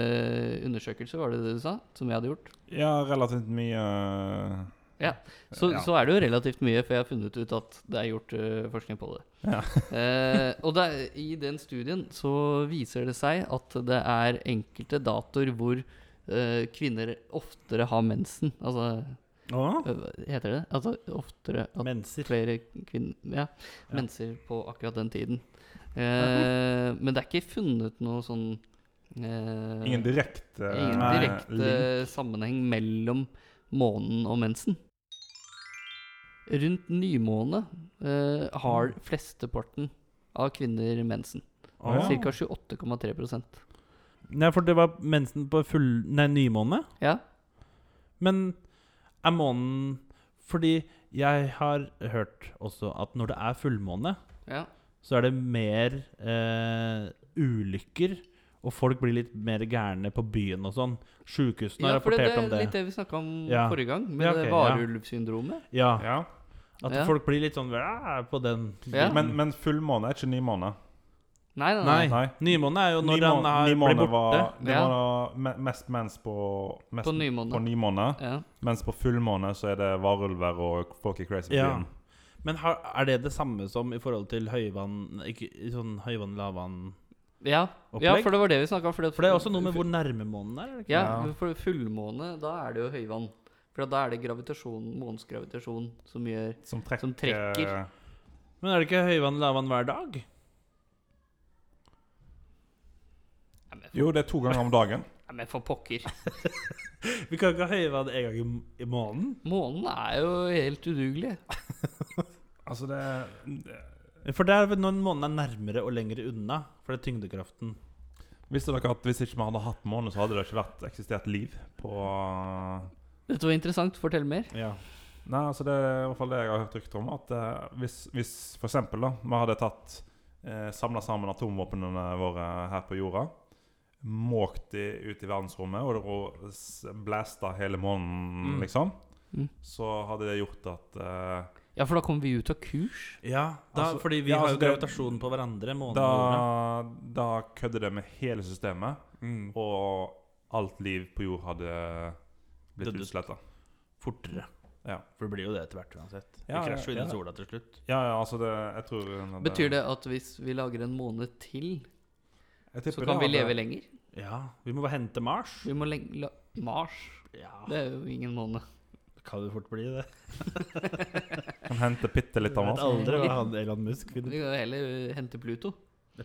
undersøkelser, var det det du sa, som jeg hadde gjort?
Ja, relativt mye eh,
Ja, Så,
Ja.
så er det jo relativt mye, for jeg har funnet ut at det er gjort eh, forskning på det.
Ja.
Eh, og det er, i den studien så viser det seg at det er enkelte datoer hvor eh, kvinner oftere har mensen. Altså,
Åh,
eh, hva heter det? Altså oftere at
Menser.
flere kvinner ja,
Ja.
menser på akkurat den tiden. Eh, men det er ikke funnet noe sånn eh,
Ingen direkte
ingen
eh,
direkte
link.
sammenheng mellom månen og mensen. Rundt nymåne eh, har
Mm.
flesteparten av kvinner mensen.
Ja.
åh.
Ca. 28,3
Nei, for det var mensen på full Nei, nymåne.
Ja,
Men er månen Fordi jeg har hørt også at når det er fullmåne,
ja.
så er det mer eh, ulykker, og folk blir litt mer gærne på byen og sånn. Sjukehusene
ja
har
for det,
rapportert
det er
om det.
litt det vi snakka om
Ja.
forrige gang, med
Ja,
det
ok, ja.
varulvsyndromet.
Ja,
Ja.
At
Ja.
folk blir litt sånn "Æ", på den.
Ja.
Men, men fullmåne er ikke nymåne.
Nei, nei, nei.
Nei.
Nei.
Nymåne er jo når
Nymåne-
han har
nymåne
blir borte.
Var, det
Ja.
var da me- mest mens på, mest
På nymåne.
på nymåne.
Ja.
Mens på fullmåne så er det varulver og folk i crazy
Ja.
byen.
Men har, er det det samme som i forhold til høyvann ikke, Sånn høyvann, lavvann
Ja. ja,
Opplegg?
for det var det vi snakka om. fordi at-
For det er også noe med hvor nærme månen er. er det ikke?
Ja,
Ja.
for fullmåne, da er det jo høyvann. For da er det gravitasjon, månens gravitasjon som gjør
Som trekker,
Som trekker.
Men er det ikke høyvann, lavvann hver dag?
Nei, men
Jo, det er to ganger om dagen.
Nei, men for pokker.
Vi kan ikke ha høyvann en gang i, m- i måneden.
Månen er jo helt udugelig.
Altså, det er
For det er vel når månen er nærmere og lenger unna. For det er tyngdekraften.
Visste dere at hvis ikke vi hadde hatt måne, så hadde det ikke vært eksistert liv på
Dette var interessant. Fortell mer.
Ja.
Nei, altså det er i hvert fall det jeg har hørt rykter om. At eh, hvis, hvis for eksempel da, vi hadde tatt eh, samla sammen atomvåpnene våre her på jorda, måkt de ut i verdensrommet og ro- s- blasta hele månen,
Mm.
liksom,
Mm.
så hadde det gjort at eh,
Ja, for da kommer vi ut av kurs.
da,
Altså,
fordi vi
ja,
har
altså,
jo
det-
gravitasjon på hverandre. Månen
da,
og jorda.
da kødder det med hele systemet,
Mm.
og alt liv på jord hadde blitt
Dødd ut.
utsletta.
Fortere.
Ja.
For det blir jo det etter hvert uansett. Vi
Ja,
krasjer jo inn
ja.
i sola til slutt.
Ja, ja, altså det Jeg tror
Betyr det at hvis vi lager en måned til, så
jeg tipper
kan
det
vi
hadde-
leve lenger?
Ja, vi må bare hente Mars.
Vi må leng... La Mars?
Ja,
Det er jo ingen måned.
det kan jo fort bli det.
Kan hente bitte litt av
Jeg
mat.
vet aldri hva han Elon Musk
Vi
finner.
kan jo heller eh, hente Pluto.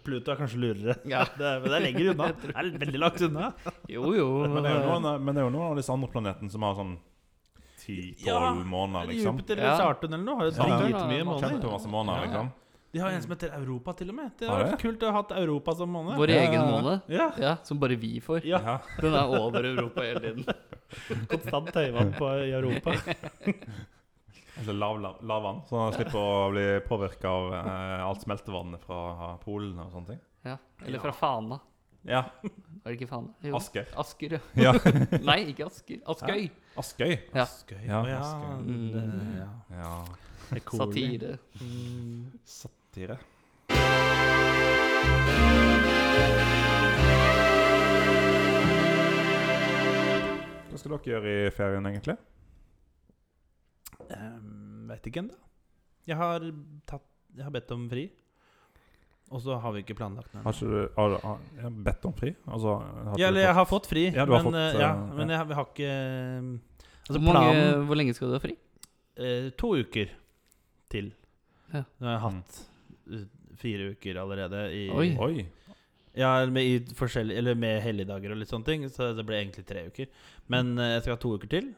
Pluto er kanskje lurere.
Ja.
Det er, men det er lenger unna. Det er veldig langt unna.
Jo, jo.
Men det er jo noen, men det er jo noen av disse andre planetene som har sånn 10-12
Ja,
måneder, liksom.
Jupiter
Ja.
eller Saturn eller noe har jo
Ja, ja.
dritmye måneder.
Kjempemasse måneder,
Ja.
liksom.
De har en som heter Europa, til og med. Det
Har
hadde
de?
vært kult å ha hatt Europa som måned.
Vår
Ja, ja,
egen
ja.
måned.
Ja,
Ja, som bare vi får.
Ja.
Ja.
Den er over Europa hele tiden.
konstant høyvann på, i Europa.
Altså lav, lav, lavvann, så han slipper å bli påvirka av eh, alt smeltevannet fra Polen og sånne ting.
Ja. Eller fra Fana.
Ja.
Var det ikke Fana? Jo.
Asker.
Asker, ja.
Ja.
Nei, ikke Asker. Askøy.
Askøy.
Ja. Mm.
Askøy.
Ja,
Å, ja.
Askøy.
det- ja.
Ja.
Det er cool.
Satire.
Mm.
Satire. Hva skal dere gjøre i ferien, egentlig?
Ehm, vet ikke ennå. Jeg har tatt Jeg har bedt om fri. Og så har vi ikke planlagt noe.
Har ikke du har, du- har, jeg har bedt om fri? Altså, har ikke
Ja,
du
eller jeg har fått fri,
Ja, du har
men,
fått,
eh, ja,
eh, ja.
men jeg, har- vi har ikke eh, Altså,
Hvor, mange,
planen
hvor lenge skal du ha fri?
eh, To uker til.
Ja.
Nå har jeg hatt eh, fire uker allerede i
Oi.
Mm. Oi.
Ja, med, i forskjellige- eller med helligdager og litt sånne ting, så det ble egentlig tre uker. Men eh, jeg skal ha to uker til,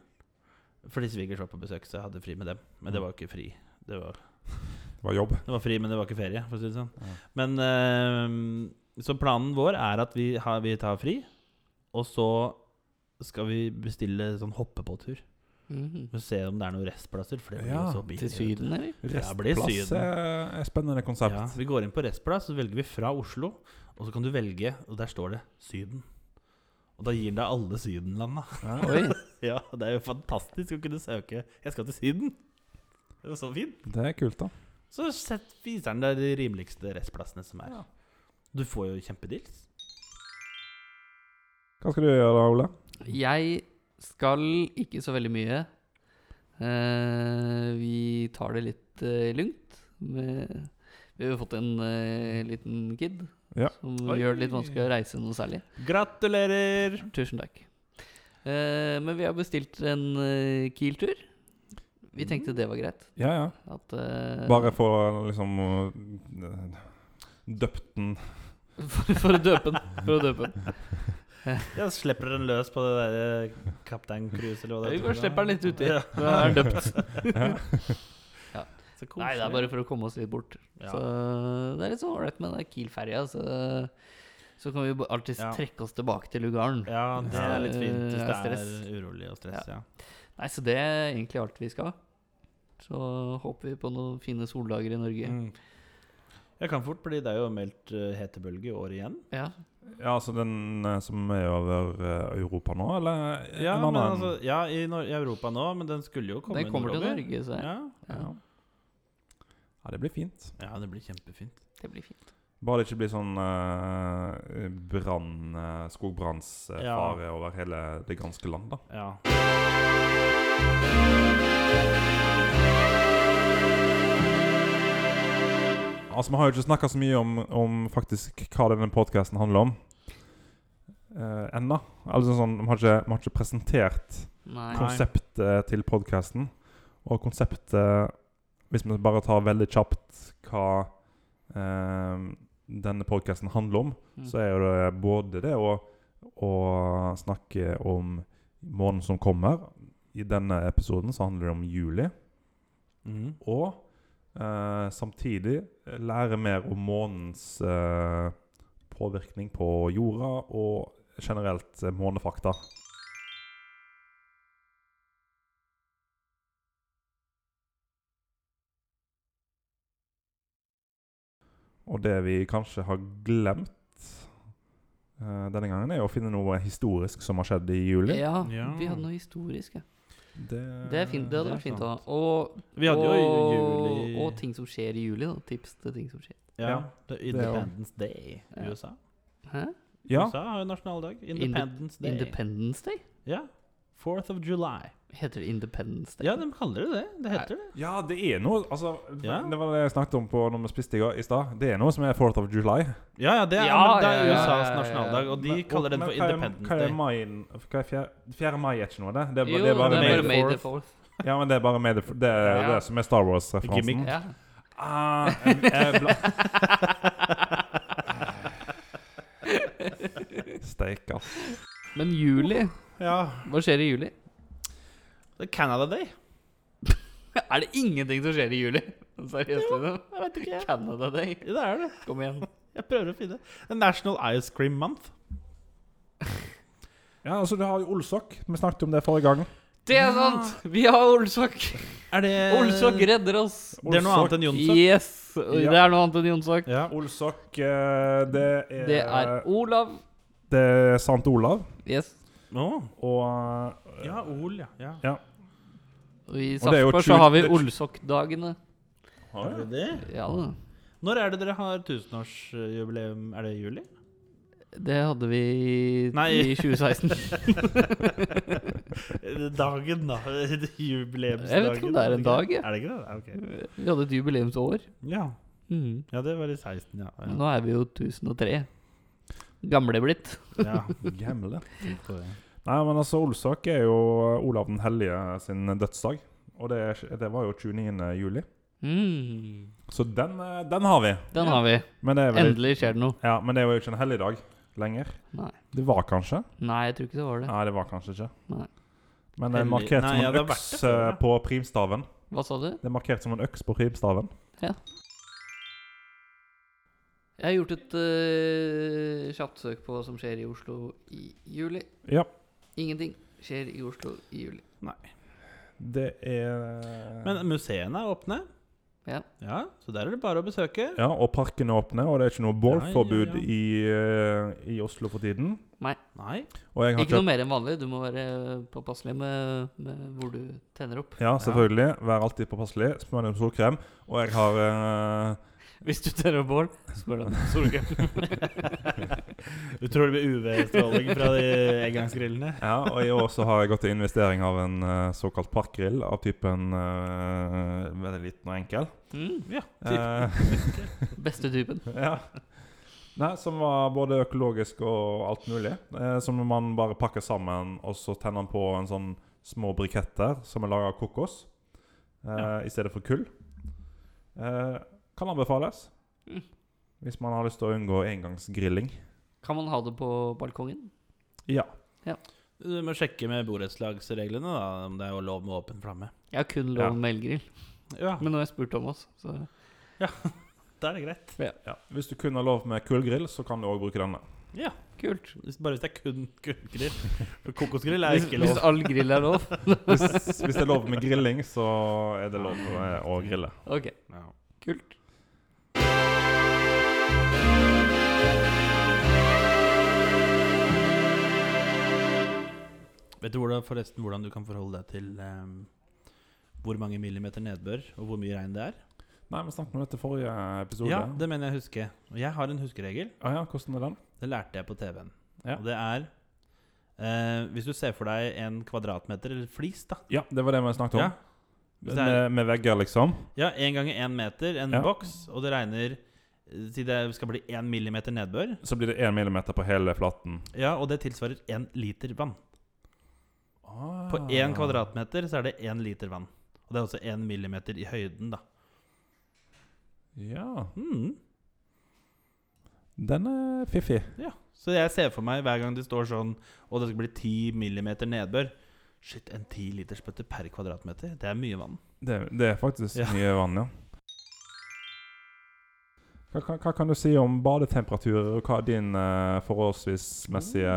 fordi svigers var på besøk, så jeg hadde fri med dem. Men det var ikke fri. Det var,
Det var jobb.
det var fri, men det var ikke ferie, for å si det sånn.
Ja.
Men eh, Så planen vår er at vi, har, vi tar fri, og så skal vi bestille sånn hoppepåtur.
Mhm.
For å se om det er noen restplasser. For det blir
Ja,
jo så billig.
Til Syden, eller?
Ja, blir
Restplass
Syden.
er er spennende konsept.
Ja, vi går inn på restplass, så velger vi fra Oslo. Og så kan du velge, og der står det Syden. Og da gir det alle Sydenlanda.
Oi.
Ja, det er jo fantastisk å kunne søke 'Jeg skal til Syden'. Det var så fint.
Det er kult, da.
Så sett, viser den deg de rimeligste restplassene som er. Du får jo kjempedeals.
Hva skal du gjøre da, Ole?
Jeg skal ikke så veldig mye. Eh, vi tar det litt eh, lugnt. med- Vi har jo fått en eh, liten kid
Ja.
som
Oi.
gjør det litt vanskelig å reise noe særlig.
Gratulerer!
Tusen takk. Eh, men vi har bestilt en eh, Kiel-tur. Vi tenkte det var greit.
Ja, ja.
At, eh,
Bare få liksom øh, Døpt den
for, for å døpe den. For å døpe den.
Jeg slipper den løs på det der eh, Kaptein Cruise, eller hva det
Vi bare slipper den litt uti.
Ja.
Den er døpt.
Så koselig.
Nei, det er bare for å komme oss litt bort.
Ja.
Så det er litt sånn ålreit med den der Kiel-ferja. Så, så kan vi jo alltid
Ja.
trekke oss tilbake til lugaren.
Ja, det
Ja.
er litt fint hvis
Eh,
det er
stress.
urolig og stress. Ja.
Nei, så det er egentlig alt vi skal. Så håper vi på noen fine soldager i Norge.
Mm. Jeg kan fort bli Det er jo meldt eh, hetebølge i år igjen.
Ja.
Ja, altså den øh, som er over øh, Europa nå, eller en
Ja, men
annen?
altså, ja i, Nor i Europa nå, men den skulle jo komme
Den kommer til
nordover.
Norge, så
Ja.
ja. ja, det blir fint.
ja, det blir kjempefint.
det blir fint.
Bare det ikke blir sånn øh, brann øh, Skogbrannsfare over hele det ganske land, da.
Ja.
Altså, Vi har jo ikke snakka så mye om, om faktisk hva denne podkasten handler om. Uh, Ennå. Altså, sånn, vi, har ikke- vi har ikke presentert
Nei.
Nei.
konseptet til podkasten. Og konseptet Hvis vi bare tar veldig kjapt hva eh, denne podkasten handler om,
Mm.
så er jo det både det å, å snakke om måneden som kommer. I denne episoden så handler det om juli.
Mhm.
Og eh, samtidig lære mer om månens eh, påvirkning på jorda og generelt eh, månefakta. Og det vi kanskje har glemt eh, denne gangen, er å finne noe historisk som har skjedd i juli.
Ja,
Ja.
vi hadde noe historisk. Ja.
Det,
Det er fint, det hadde vært fint å ha. Og,
Vi hadde jo
og,
juli
og ting som skjer i juli. Da. Tips til ting som skjer.
Ja,
Ja, det er
det er
jo-
Independence Day i
Ja.
USA.
Hæ?
Ja,
USA har jo nasjonaldag.
Inde-
Independence Day.
Independence Day?
ja. 4th of July.
Heter det Independence Day?
Ja, de kaller det det. Det heter det.
Ja, det er noe altså,
Ja.
Det var det jeg snakket om på når vi spiste i går- i stad. Det er noe som er 4th of July.
Ja, ja, det er,
Ja,
men det
ja,
er
ja,
USAs
ja, ja, ja.
nasjonaldag, og de
Men-
kaller den
men
for
hva er-
Independence
hva er
Day.
maien- hva er fjerde, 4. mai er ikke noe, det. Det, er ba-
Jo,
det er bare
May
May
the
the
May the
4th.
Fourth.
Ja, men det er bare May the 4th. Det er
Ja.
det som er Star Wars-referansen.
Gimmick.
Ja.
Ah, jeg, jeg bla... Steik, ass.
Men juli
Ja.
Hva skjer i juli?
Det er Canada Day.
Er det ingenting som skjer i juli? Seriøst, liksom?
Jeg vet ikke. jeg.
Canada Day.
Ja, Det er det.
Kom igjen.
Jeg prøver å finne det. The National Ice Cream Month.
ja, altså, du har jo Olsok. Vi snakket om det forrige gang.
Det er
Ja.
sant! Vi har Olsok.
Er det
Eh,
Olsok redder oss.
Det er noe
Olsok.
annet enn Jonsson.
Yes!
Ja.
Det er noe annet enn Jonsok.
Ja.
Olsok, eh, det er
Det er Olav.
det er Sant Olav.
Yes.
Å.
Og eh,
ja, Ol, ja. ja.
Og I
Og det er jo
Sarpsborg
tjue-
så har vi
det-
Olsok-dagene.
har
Er
jeg-
det det?
Ja da.
Når er det dere har tusenårsjubileum? Er det i juli?
Det hadde vi
Nei.
i 2016.
Dagen, da. Jubileumsdagen.
Jeg vet ikke om det er en dag, jeg.
Er det ikke det? Ja, ok.
Vi hadde et jubileumsår.
Ja.
Mm.
Mhm.
ja, det var i 16, ja. ja.
Nå er vi jo 1003. Gamle blitt.
ja.
Gamle.
tenk på det.
Nei, men altså, Olsak er jo eh, Olav den hellige sin dødsdag. Og det, er- det var jo 29. juli.
Mm.
Så den, eh, den har vi.
Den har vi.
Men det, er vel,
Endelig skjer det noe.
ja, men det var jo ikke en helligdag lenger.
Nei.
Det var kanskje?
Nei, jeg tror ikke det var det.
Nei, det var kanskje ikke.
Nei.
Men det er
Hellig-
markert
Nei,
som
ja,
en
det har vært
øks
det før,
eh,
ja.
på primstaven.
Hva sa du?
Det er markert som en øks på primstaven.
Jeg har gjort et eh, kjapt søk på hva som skjer i Oslo i juli.
Ja,
Ingenting skjer i Oslo i juli.
det er
Men museene er åpne.
Ja.
ja. Så der er det bare å besøke.
Ja, og parkene åpner, og det er ikke noe bålforbud
Ja, ja, ja.
I, eh, i Oslo for tiden.
Nei.
Og jeg har
Ikke noe mer enn vanlig. Du må være påpasselig med, med hvor du tenner opp.
Ja, selvfølgelig. Vær alltid påpasselig. Spør meg om solkrem. Og jeg har eh,
Hvis du tenner opp bål, spør deg om
Utrolig med UV-stråling fra de engangsgrillene.
Ja, og i år så har jeg gått til investering av en eh, såkalt parkgrill av typen eh, veldig liten og enkel.
Mm,
Ja.
Eh,
beste typen.
ja. Nei, som var både økologisk og alt mulig. Eh, som man bare pakker sammen, og så tenner man på en sånn små briketter som er laga av kokos eh,
Ja.
i stedet for kull. Eh, kan anbefales.
Mm.
Hvis man har lyst til å unngå engangsgrilling.
Kan man ha det på balkongen?
Ja.
Du må sjekke med borettslagsreglene da, om det er jo lov med åpen flamme.
Jeg har kun
Ja.
lov med elgrill.
Ja,
Men nå har jeg spurt Thomas, så
da er det greit.
ja. Hvis du kun har lov med kullgrill, så kan du òg bruke denne.
Ja,
kult.
hvis, Bare hvis det er kun kullgrill. For kokosgrill er
Hvis,
ikke
hvis
lov.
all grill er lov.
Hvis, hvis det er lov med grilling, så er det lov med å grille.
Ok,
Ja.
kult.
Vet du hvordan, forresten hvordan du kan forholde deg til ehm, hvor mange millimeter nedbør og hvor mye regn det er?
Nei, vi snakket om dette i forrige episode.
Ja, det mener jeg å huske. Og jeg har en huskeregel.
ah, ja, hvordan er den?
Det lærte jeg på TV-en.
Ja.
Og det er eh, Hvis du ser for deg en kvadratmeter, eller flis, da.
Ja, det var det vi snakket om.
Ja. Hvis det er
Med, med vegger, liksom.
Ja, én ganger én meter, en
Ja.
boks, og det regner eh, Si det skal bli én millimeter nedbør.
Så blir det én millimeter på hele flaten.
Ja, og det tilsvarer én liter vann.
Ah.
På én kvadratmeter så er det én liter vann. Og det er også én
Hmm.
millimeter i høyden, da.
Ja.
Mm.
Den er fiffig.
Så jeg ser for meg hver gang det står sånn Og det skal bli 10 millimeter nedbør Shit, en 10 liters bøtte per kvadratmeter Det er mye vann
Det, det er faktisk
Ja.
mye vann, ja. Hva, hva, hva kan du si om badetemperaturer, og hva er din eh, forholdsvismessige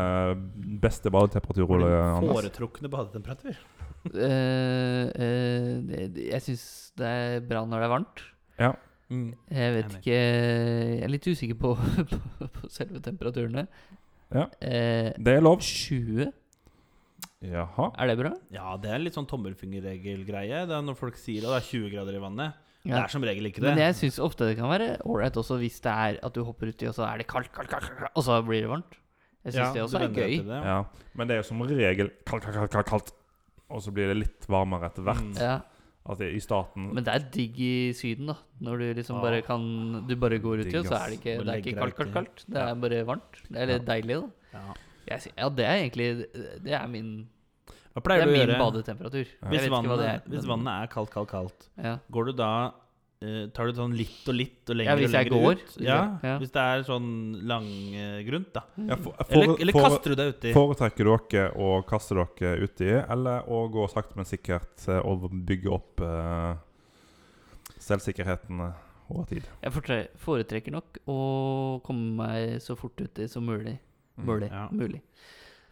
beste badetemperatur, Ole Anders?
Foretrukne badetemperatur
Eh, eh, det- det- jeg syns det er bra når det er varmt. Jeg vet
Enig.
ikke Jeg er litt usikker på, på, på selve temperaturene.
Ja.
Eh,
Det er lov.
20,
Jaha.
er det bra?
Ja, det er litt sånn tommelfingerregel-greie Det er Når folk sier at det er 20 grader i vannet Det
Ja.
er som regel ikke det
Men jeg syns ofte det kan være ålreit også hvis det er at du hopper uti, og så er det kaldt, kaldt, kaldt, kaldt, kaldt, og så blir det varmt. Jeg syns
Ja,
det
du
også er
vender deg
gøy.
til det, ja.
Ja. Men det er jo som regel kaldt, kaldt, kaldt, kaldt, kaldt. Og så blir det litt varmere etter hvert.
Mm.
Ja,
At det, I starten
men det er digg i Syden, da. Når du liksom
Ja.
bare kan Du bare går uti,
Digg,
og så
ass.
er det ikke, det
Bare
er
legger
ikke
deg
kaldt, kaldt,
uti.
kaldt. Det
Ja.
er bare varmt. Eller
Ja.
deilig, da.
Ja.
Jeg, sy- ja, det er egentlig Det er min,
Hva
det
pleier
er
du å
min
gjøre
badetemperatur.
Ja.
Jeg
hvis
vet ikke hva
vannet,
det er.
hvis
men-
vannet er kaldt, kaldt, kaldt
ja.
Går du da eh, Tar du sånn litt og litt
Ja,
og lenger
hvis
og
jeg
lenger
går.
ut ja,
Ja.
Hvis det er sånn langgrunt da
Ja, for, for,
Eller, eller
for,
kaster du deg uti
Foretrekker dere å kaste dere uti, eller å gå sakte, men sikkert eh, og bygge opp eh, selvsikkerheten eh, over tid?
Jeg fortre- foretrekker nok å komme meg så fort uti som mulig.
Mm.
Mulig.
Ja.
mulig.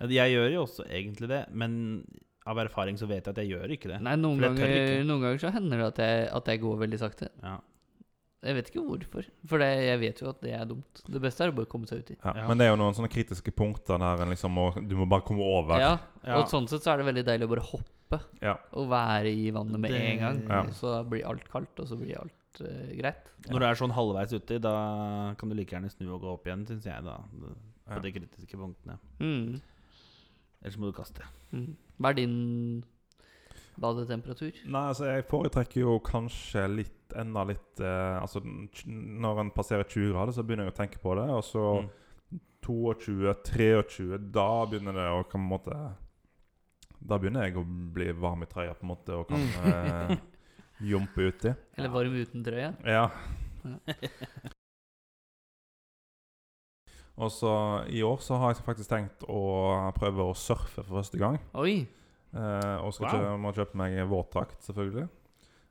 Ja, Jeg gjør jo også egentlig det, men av erfaring så vet jeg at jeg gjør ikke det.
Nei, noen
For jeg tør
ganger,
ikke.
noen ganger så hender det at jeg, at jeg går veldig sakte.
Ja.
Jeg vet ikke hvorfor, for det, jeg vet jo at det er dumt. Det beste er å bare komme seg uti.
Ja,
Ja.
Men det er jo noen sånne kritiske punkter der en liksom må, du må bare komme over.
Ja,
Ja.
og sånn sett så er det veldig deilig å bare hoppe
Ja.
og være i vannet med
Det-
en gang.
Ja.
Så blir alt kaldt, og så blir alt eh, greit.
Når du er sånn halvveis uti, da kan du like gjerne snu og gå opp igjen, syns jeg, da. På
Ja.
de kritiske punktene.
Mm.
Ellers må du kaste.
Mm. Hva er din badetemperatur?
Nei, altså jeg foretrekker jo kanskje litt enda litt eh, Altså n- tj- når en passerer 20 grader, så begynner jeg å tenke på det, og så
Mm.
22-23, da begynner det å på en måte Da begynner jeg å bli varm i trøya, på en måte, og kan eh, jumpe uti.
Eller
Ja.
varm uten trøye?
Ja. Og så i år så har jeg faktisk tenkt å prøve å surfe for første gang.
Oi!
Eh, og skal
Wow.
kjø må kjøpe meg våtdrakt, selvfølgelig.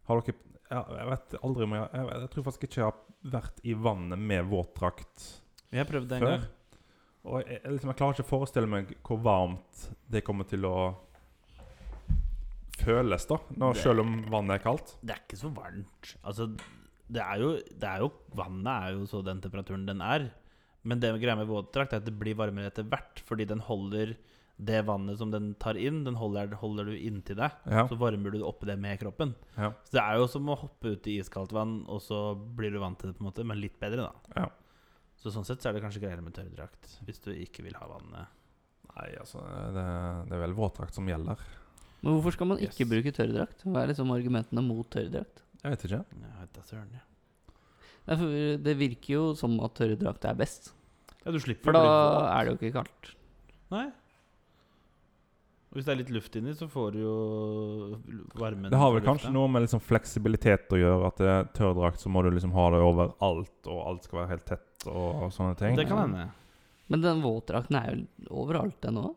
Har dere ja, Jeg vet aldri om jeg jeg, vet- jeg tror faktisk ikke jeg har vært i vannet med våtdrakt
Jeg prøvde en
før.
gang.
Og jeg, jeg, liksom, jeg klarer ikke å forestille meg hvor varmt det kommer til å føles, da. Når,
Det-
selv om vannet er kaldt.
Det er ikke så varmt. Altså, det er jo, det er jo Vannet er jo så den temperaturen den er. Men det greia med våtdrakt er at det blir varmere etter hvert, fordi den holder det vannet som den tar inn, den holder, holder du inntil deg.
Ja.
Så varmer du oppi det med kroppen.
Ja.
Så det er jo som å hoppe ut i iskaldt vann, og så blir du vant til det, på en måte, men litt bedre, da.
Ja.
Så sånn sett så er det kanskje greiere med tørrdrakt, hvis du ikke vil ha vannet.
Nei, altså Det, det er vel våtdrakt som gjelder.
Men hvorfor skal man ikke
Yes.
bruke tørrdrakt? Hva er liksom argumentene mot tørrdrakt?
Jeg vet ikke.
Jeg vet da søren, ja.
Nei, for Det virker jo som at tørrdrakt er best.
Ja, du slipper
For da er det jo ikke kaldt.
Nei. Og Hvis det er litt luft inni, så får du jo varmen
Det har vel
fra
kanskje noe med liksom fleksibilitet å gjøre. At det er tørrdrakt, så må du liksom ha det over alt, og alt skal være helt tett og, og sånne ting.
Det kan hende.
Men den våtdrakten er jo overalt, den òg.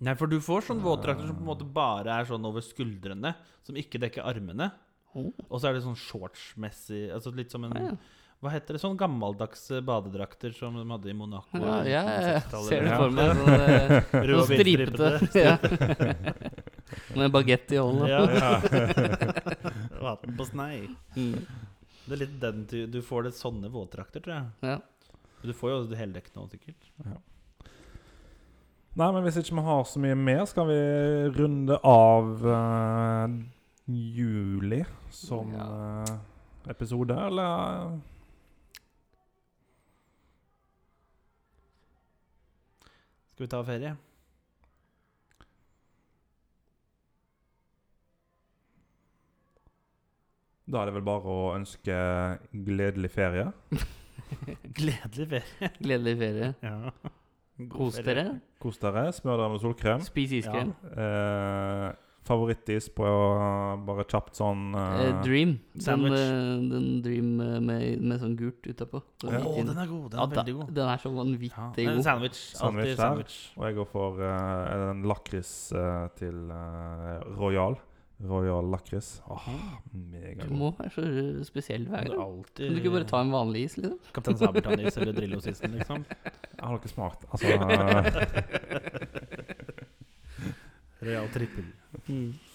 Nei, for du får sånne våtdrakter som på en måte bare er sånn over skuldrene, som ikke dekker armene.
Oh.
Og så er det sånn shortsmessig Altså litt som en
Ja, ja.
Hva heter det? Sånn gammeldagse badedrakter som de hadde i Monaco.
ja, ja, ja.
1960-tallet.
Ser det
Ja.
for meg. Sånn, eh,
Rød
sånn
og hvit
stripete. Ja. Med bagett i hånda.
Ja. Vann på snei.
Mm.
Det er litt den ty Du får det sånne våtdrakter, tror jeg.
Ja.
Du får jo også det heldekkende òg, sikkert.
Nei, men hvis ikke vi har så mye mer, skal vi runde av eh, juli som
Ja.
eh, episode, eller?
Skal vi ta ferie?
Da er det vel bare å ønske gledelig ferie.
Gledelig ferie.
Gledelig ferie.
Ja. God
Kos
ferie.
dere.
Kos dere. Smør dere med solkrem.
Spis iskrem.
Eh, Favorittis på bare kjapt sånn eh,
Eh, Dream. Den,
Sandwich.
eh, den Dream eh, med, med sånn gult utapå. Sånn
Ja.
midt
Å,
inn.
den er god. Den
Ja,
er veldig god.
Den er så vanvittig
Ja,
god.
men sandwich.
Sandwich
Alltid
der.
sandwich.
Og jeg går for eh, en lakris eh, til eh, Royal. Royal lakris. Åh,
Du
megagod.
må være så eh, spesiell hver
Det er
gang.
alltid
Kan du ikke bare ta en vanlig is, liksom?
Kaptein Sabeltann-is eller Drillo-sisten, liksom?
Jeg har ikke smakt. Altså eh,
Real trippel.
Mm.